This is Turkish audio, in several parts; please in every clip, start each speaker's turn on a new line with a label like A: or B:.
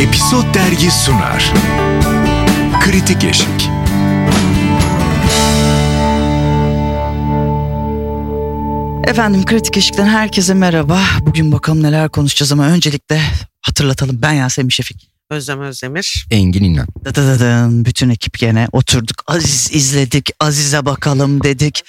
A: Episod Dergi sunar. Kritik Eşik.
B: Efendim Kritik Eşik'ten herkese merhaba. Bugün bakalım neler konuşacağız ama öncelikle hatırlatalım. Ben Yasemin Şefik.
C: Özlem Özdemir.
D: Engin İnan.
B: Dadadadın. Bütün ekip gene oturduk. Aziz izledik. Aziz'e bakalım dedik.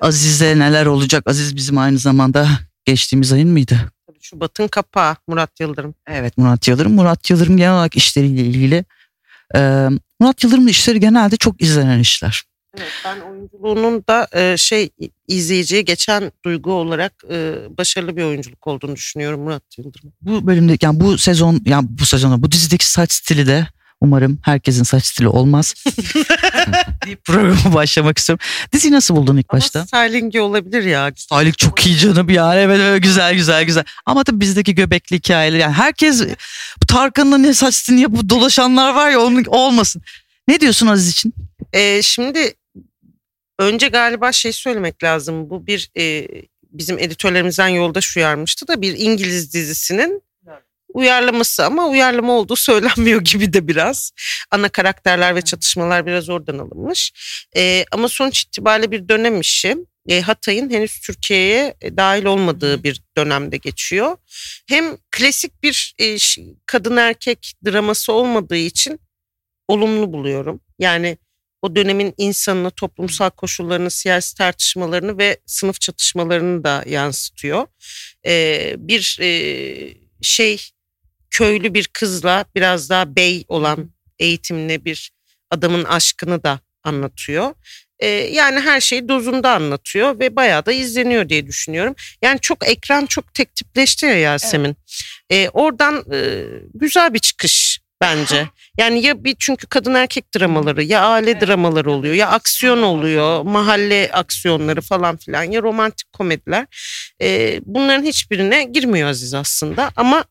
B: Aziz'e neler olacak? Aziz bizim aynı zamanda geçtiğimiz ayın mıydı?
C: Tabii Şubat'ın kapağı Murat Yıldırım.
B: Evet Murat Yıldırım. Murat Yıldırım genel olarak işleriyle ilgili. Ee, Murat Yıldırım'ın işleri genelde çok izlenen işler.
C: Evet, ben oyunculuğunun da e, şey izleyiciye geçen duygu olarak e, başarılı bir oyunculuk olduğunu düşünüyorum Murat Yıldırım.
B: Bu bölümde yani bu sezon yani bu sezonda bu dizideki saç stili de umarım herkesin saç stili olmaz. deyip programa başlamak istiyorum. Diziyi nasıl buldun ilk başta?
C: Ama stylingi olabilir ya.
B: Aylık çok iyi canım yani evet evet, güzel güzel güzel. Ama tabii bizdeki göbekli hikayeler yani herkes bu Tarkan'la ne saç stilini yapıp dolaşanlar var ya onun olmasın. Ne diyorsun Aziz için?
C: E, şimdi önce galiba şey söylemek lazım. Bu bir e, bizim editörlerimizden yolda şu yarmıştı da bir İngiliz dizisinin uyarlaması ama uyarlama olduğu söylenmiyor gibi de biraz. Ana karakterler ve çatışmalar biraz oradan alınmış. E, ama sonuç itibariyle bir dönem işi. E, Hatay'ın henüz Türkiye'ye e, dahil olmadığı bir dönemde geçiyor. Hem klasik bir e, ş- kadın erkek draması olmadığı için olumlu buluyorum. Yani o dönemin insanını, toplumsal koşullarını, siyasi tartışmalarını ve sınıf çatışmalarını da yansıtıyor. Ee, bir e, şey köylü bir kızla biraz daha bey olan eğitimli bir adamın aşkını da anlatıyor. Ee, yani her şeyi dozunda anlatıyor ve bayağı da izleniyor diye düşünüyorum. Yani çok ekran çok tek tipleşti ya Yasemin. Ee, oradan e, güzel bir çıkış bence. Yani ya bir çünkü kadın erkek dramaları ya aile dramaları oluyor ya aksiyon oluyor mahalle aksiyonları falan filan ya romantik komediler. Ee, bunların hiçbirine girmiyor Aziz aslında ama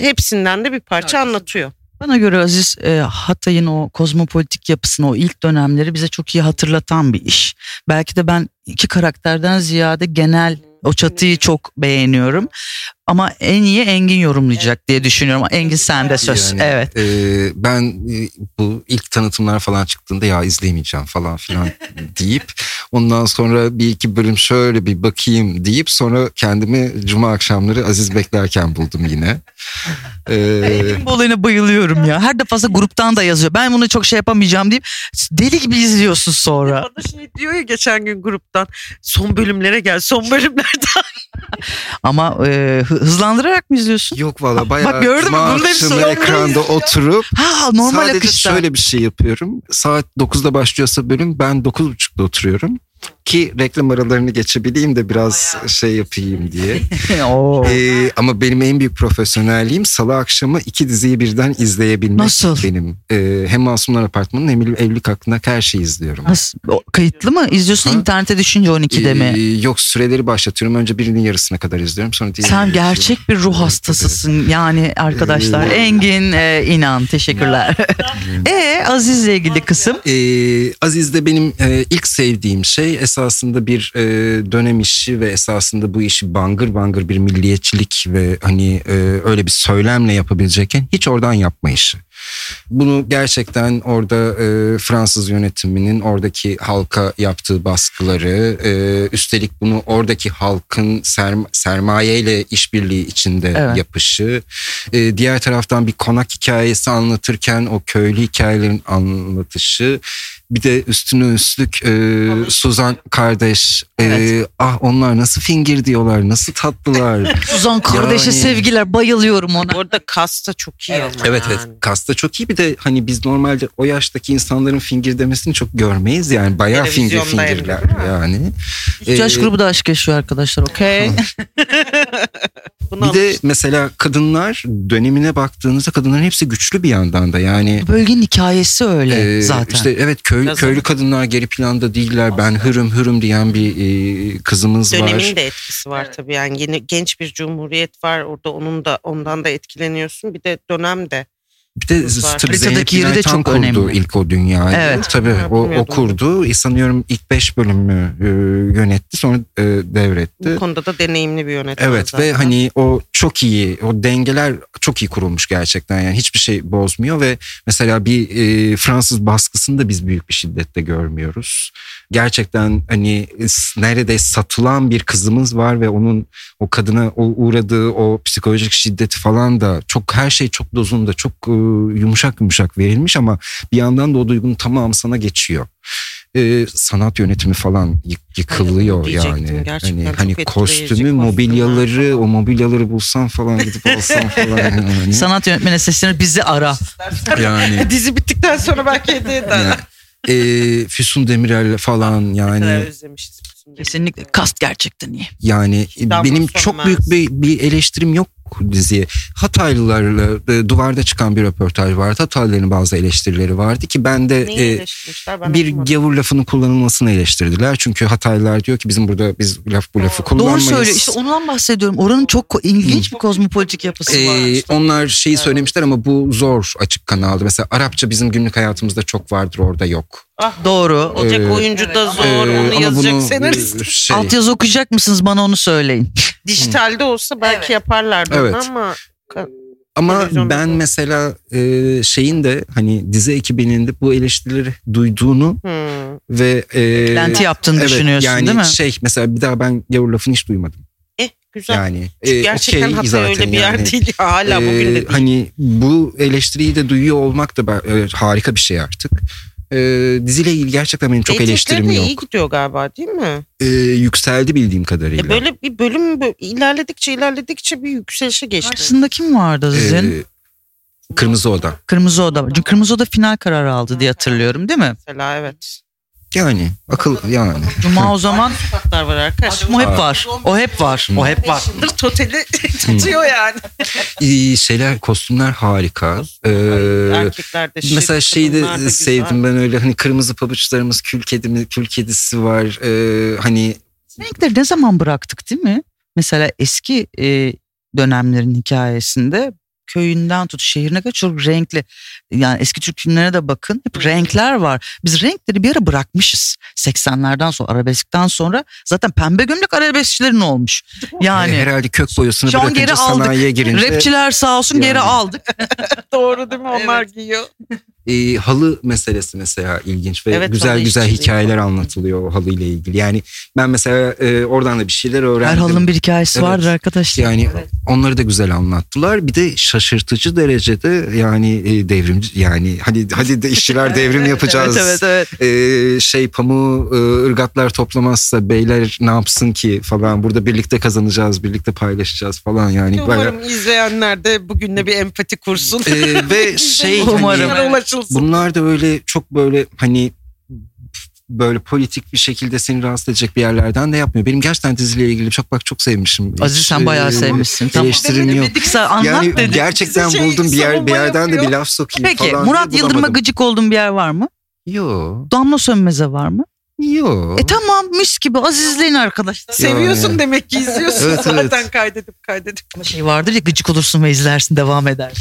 C: hepsinden de bir parça anlatıyor.
B: Bana göre Aziz e, Hatay'ın o kozmopolitik yapısını o ilk dönemleri bize çok iyi hatırlatan bir iş. Belki de ben iki karakterden ziyade genel o çatıyı çok beğeniyorum. Ama en iyi Engin yorumlayacak diye düşünüyorum. Engin sen de söz.
D: Yani,
B: Evet.
D: e, ben e, bu ilk tanıtımlar falan çıktığında ya izlemeyeceğim falan filan deyip ondan sonra bir iki bölüm şöyle bir bakayım deyip sonra kendimi cuma akşamları Aziz beklerken buldum yine. E,
B: Bu olayına bayılıyorum ya. Her defasında gruptan da yazıyor. Ben bunu çok şey yapamayacağım deyip deli gibi izliyorsun sonra.
C: Bana şey diyor ya geçen gün gruptan son bölümlere gel son bölümlerden.
B: Ama e, hı- hızlandırarak mı izliyorsun?
D: Yok valla bayağı
B: Bak gördün mü?
D: cuma
B: Bunun hepsi
D: akşamı
B: normal
D: ekranda
B: izliyor.
D: oturup
B: Ha normal
D: Sadece
B: akışta.
D: şöyle bir şey yapıyorum. Saat 9'da başlıyorsa bölüm ben 9.30'da oturuyorum. Ki reklam aralarını geçebileyim de biraz şey yapayım diye.
B: Oo.
D: Ee, ama benim en büyük profesyonelliğim salı akşamı iki diziyi birden izleyebilmek.
B: Nasıl?
D: Benim. Ee, hem Masumlar Apartmanı'nın hem Evlilik hakkındaki her şeyi izliyorum.
B: Nasıl? O, kayıtlı mı? İzliyorsun
D: Ha?
B: internete düşünce 12'de mi?
D: Ee, yok süreleri başlatıyorum. Önce birinin yarısına kadar izliyorum. Sonra diğerini
B: Sen
D: izliyorum.
B: gerçek bir ruh hastasısın yani arkadaşlar.
D: Ee,
B: Engin e, inan teşekkürler. e Aziz'le ilgili kısım.
D: Ee, Aziz de benim e, ilk sevdiğim şey esasında bir e, dönem işi ve esasında bu işi bangır bangır bir milliyetçilik ve hani e, öyle bir söylemle yapabilecekken hiç oradan yapma işi. Bunu gerçekten orada e, Fransız yönetiminin oradaki halka yaptığı baskıları, e, üstelik bunu oradaki halkın serm- sermayeyle işbirliği içinde
B: Evet.
D: yapışı, e, diğer taraftan bir konak hikayesi anlatırken o köylü hikayelerin anlatışı, bir de üstüne üstlük e, Suzan kardeş, e,
B: Evet.
D: ah onlar nasıl fingir diyorlar, nasıl tatlılar.
B: Suzan kardeşe
D: Yani-
B: sevgiler bayılıyorum ona.
C: Bu arada kasta çok iyi ama
D: Evet
C: yani.
D: evet kasta çok iyi bir de hani biz normalde o yaştaki insanların fingir demesini çok görmeyiz yani bayağı fingir
C: Televizyonda yani,
D: fingirler
C: değil mi?
D: yani.
B: Üç yaş
D: Ee,
B: grubu da aşk yaşıyor arkadaşlar okey.
C: Bunu
D: Bir de
C: alıştım.
D: mesela kadınlar dönemine baktığınızda kadınların hepsi güçlü bir yandan da yani.
B: Bölgenin hikayesi öyle
D: Ee,
B: zaten.
D: işte evet köy,
C: Biraz
D: köylü
C: öyle.
D: kadınlar geri planda değiller. Ben hürüm hürüm diyen bir e, kızımız var.
C: dönemin de etkisi var tabii yani yeni genç bir cumhuriyet var orada onun da ondan da etkileniyorsun bir de dönem de
D: Bir de
C: Var.
D: s- tabii
B: Haritadaki
D: Zeynep
B: yeri de
D: Günay Tan
B: çok
D: kurdu
B: önemli.
D: ilk o dünyayı.
B: Evet.
D: Tabii
C: Ha,
D: o, o
C: bilmiyordum.
D: kurdu. E, Sanıyorum ilk 5 bölümü e, yönetti sonra e,
C: Bu
D: devretti.
C: konuda da deneyimli bir yönetmen.
D: Evet
C: zaten.
D: ve hani o çok iyi o dengeler çok iyi kurulmuş gerçekten yani hiçbir şey bozmuyor ve mesela bir e, Fransız baskısını da biz büyük bir şiddette görmüyoruz. Gerçekten hani s- neredeyse satılan bir kızımız var ve onun o kadına o uğradığı o psikolojik şiddeti falan da çok her şey çok dozunda çok e, yumuşak yumuşak verilmiş ama bir yandan da o duygunun tamamı sana geçiyor. E, sanat yönetimi falan yık-
C: onu
D: yıkılıyor
C: diyecektim.
D: yani.
C: Gerçekten
D: hani
C: çok
D: hani
C: etkileyici
D: kostümü,
C: kostümler
D: mobilyaları,
C: falan.
D: o mobilyaları bulsan falan gidip alsan falan yani.
B: Sanat yönetmeni seslenir bizi ara.
D: yani.
C: E, Dizi bittikten sonra belki hediye eder.
D: yani. E, Füsun Demirel falan
C: Ne kadar
D: yani
C: özlemişiz. bizim
B: Kesinlikle
C: diziyi.
B: kast gerçekten iyi.
D: yani e,
C: Damla
D: benim
C: sönmez.
D: çok büyük bir, bir eleştirim yok diziye. Hataylılarla e, duvarda çıkan bir röportaj vardı. Hataylıların bazı eleştirileri vardı ki ben de
C: Neyi
D: e,
C: eleştirmişler? Ben
D: bir
C: okumadım.
D: gavur lafının kullanılmasını eleştirdiler. Çünkü Hataylılar diyor ki bizim burada biz laf bu lafı
B: Doğru
D: kullanmayız.
B: söylüyor. İşte ondan bahsediyorum. Oranın çok ko- ilginç bir kozmopolitik yapısı
D: Ee,
B: var.
D: onlar şeyi söylemişler ama bu zor açık kanaldı. Mesela Arapça bizim günlük hayatımızda çok vardır orada yok.
C: Ah,
B: Doğru.
C: olacak
D: Ee,
C: oyuncu da zor.
D: Ee,
C: onu
D: ama
C: yazacak
D: bunu,
C: senarist.
D: e, şey,
B: Altyazı okuyacak mısınız bana onu söyleyin.
C: Dijitalde olsa belki yaparlardı
D: Evet.
C: onu ama
D: Ama
C: televizyonda
D: ben
C: da.
D: mesela e, şeyin de hani dizi ekibinin de bu eleştirileri duyduğunu
C: hmm.
D: ve e,
B: Lenti yaptığını
D: evet,
B: düşünüyorsun
D: yani
B: değil mi?
D: şey mesela bir daha ben gavur lafını hiç duymadım.
C: Eh güzel.
D: Yani e,
C: Gerçekten
D: okey
C: Hatay
D: zaten
C: öyle bir
D: yani.
C: yer değil. ya, Hala bugün de
D: Ee,
C: değil.
D: Hani bu eleştiriyi de duyuyor olmak da ben- e, harika bir şey artık. Ee, diziyle ilgili gerçekten benim çok
C: Reytingleri
D: eleştirim
C: de
D: yok.
C: iyi gidiyor galiba değil mi?
D: Ee, yükseldi bildiğim kadarıyla.
C: E böyle bir bölüm bö- ilerledikçe ilerledikçe bir yükselişe geçti.
B: Karşısında kim vardı sizin?
D: Ee, Kırmızı Oda.
B: Kırmızı Oda. Çünkü Kırmızı Oda final kararı aldı diye hatırlıyorum değil mi?
C: Mesela evet.
D: Yani akıl yani.
B: Cuma o zaman
C: Haklar var arkadaşlar.
B: o hep var. O hep var. O hep var. Hmm.
C: Yıldır toteli tutuyor yani.
D: İyi şeyler kostümler harika. Ee,
C: Erkekler de şık,
D: mesela şeyi
C: kadınlar da
D: de
C: güzel.
D: sevdim ben öyle hani kırmızı pabuçlarımız kül kedimiz kül kedisi var. Ee, hani
B: Renkleri ne zaman bıraktık değil mi? Mesela eski e, dönemlerin hikayesinde köyünden tut şehrine kadar çok renkli. Yani eski Türk filmlerine de bakın hep renkler var. Biz renkleri bir ara bırakmışız. 80'lerden sonra arabeskten sonra zaten pembe gömlek arabeskçilerin olmuş.
D: e,
B: Yani
D: herhalde kök boyasını
B: Şu an geri
D: bırakınca
B: aldık.
D: sanayiye girince
B: rapçiler sağ olsun geri
D: Yani.
B: aldık.
C: Doğru değil mi? Onlar giyiyor.
D: e, halı meselesi mesela ilginç ve
C: Evet, halı
D: güzel güzel
C: işçiliği
D: hikayeler
C: falan.
D: anlatılıyor o halıyla ilgili. Yani ben mesela e, oradan da bir şeyler
B: Her
D: öğrendim.
B: halının bir hikayesi
D: Evet.
B: vardır arkadaşlar.
D: Yani
B: Evet.
D: onları da güzel anlattılar. Bir de şaşırtıcı derecede yani e, devrimci yani hadi hadi de işçiler devrim yapacağız.
B: Evet, evet, evet.
D: E, şey pamuğu e, ırgatlar toplamazsa beyler ne yapsın ki falan burada birlikte kazanacağız, birlikte paylaşacağız falan yani. Hani Böyle,
C: Umarım izleyenler de bugünle bir empati kursun.
D: E, ve şey hani-
B: Umarım.
C: İnsanlara ulaşılsın.
D: Bunlar da öyle çok böyle hani böyle politik bir şekilde seni rahatsız edecek bir yerlerden de yapmıyor. Benim gerçekten diziyle ilgili çok bak çok sevmişim.
B: Aziz
D: Hiç,
B: sen bayağı
D: e,
B: sevmişsin. Tamam.
D: Eleştirim yok.
B: Dedik sen anlat
D: Yani
B: dedik.
D: gerçekten
C: Bize şey,
D: buldum bir yer bir
C: savunma
D: yerden de
C: yapıyor.
D: bir laf sokayım
B: Peki
D: falan.
B: Murat
D: diye
B: Yıldırım'a
D: bulamadım.
B: gıcık olduğun bir yer var mı?
D: Yo.
B: Damla sönmeze var mı?
D: Yo.
B: E tamam mis gibi azizleyin arkadaşlar.
C: Seviyorsun
D: Yani.
C: demek ki izliyorsun
D: Evet, evet.
C: zaten kaydedip kaydedip.
B: Ama şey vardır ya gıcık olursun ve izlersin devam eder.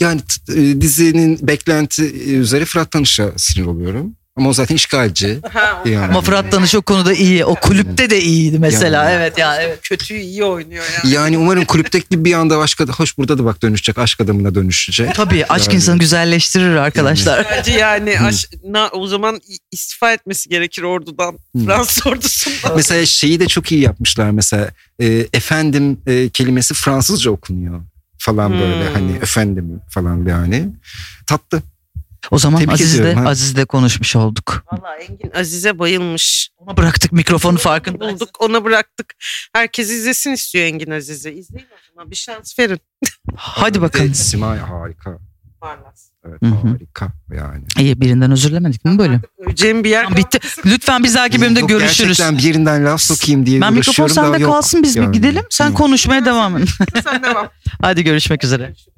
D: Yani t- e, dizinin beklenti e, üzere Fırat Tanış'a sinir oluyorum. Ama o zaten işgalci.
C: Ha,
D: Yani.
B: Ama Fırat Danış o konuda iyi. O kulüpte de iyiydi mesela.
D: Yani.
B: Evet ya evet.
C: Kötüyü iyi oynuyor yani.
D: Yani umarım kulüpteki bir anda başka hoş burada da bak dönüşecek aşk adamına dönüşecek.
B: Tabii aşk
D: Yani.
B: insanı güzelleştirir arkadaşlar.
C: Bence yani aş- na- o zaman i- istifa etmesi gerekir ordudan.
D: Hı.
C: Fransız ordusundan.
D: Mesela şeyi de çok iyi yapmışlar mesela e, efendim e, kelimesi Fransızca okunuyor falan böyle
C: Hmm.
D: hani efendim falan yani tatlı.
B: O zaman
D: Tebrik
B: Aziz'le
D: ediyorum, ha.
B: Aziz'le konuşmuş olduk.
C: Valla Engin Aziz'e bayılmış.
B: Ona bıraktık mikrofonu farkında.
C: Bulduk ona bıraktık. Herkes izlesin istiyor Engin Aziz'i. İzleyin o zaman bir şans verin.
B: Hadi
D: Bir
B: bakalım.
D: de Simay harika. Evet
B: Hı hı.
D: harika yani.
B: İyi birinden özürlemedik mi böyle?
C: Öleceğim bir yer
B: Tamam, bitti. Lütfen biz belki bölümde
D: Yok,
B: görüşürüz.
D: Gerçekten bir yerinden laf sokayım diye
B: Ben mikrofon
D: uğraşıyorum da
B: sende
D: yok.
B: kalsın biz bir
D: Yani.
B: gidelim. Sen
D: Hı.
B: konuşmaya devam et.
C: kaldı. Sen devam.
B: Hadi görüşmek üzere.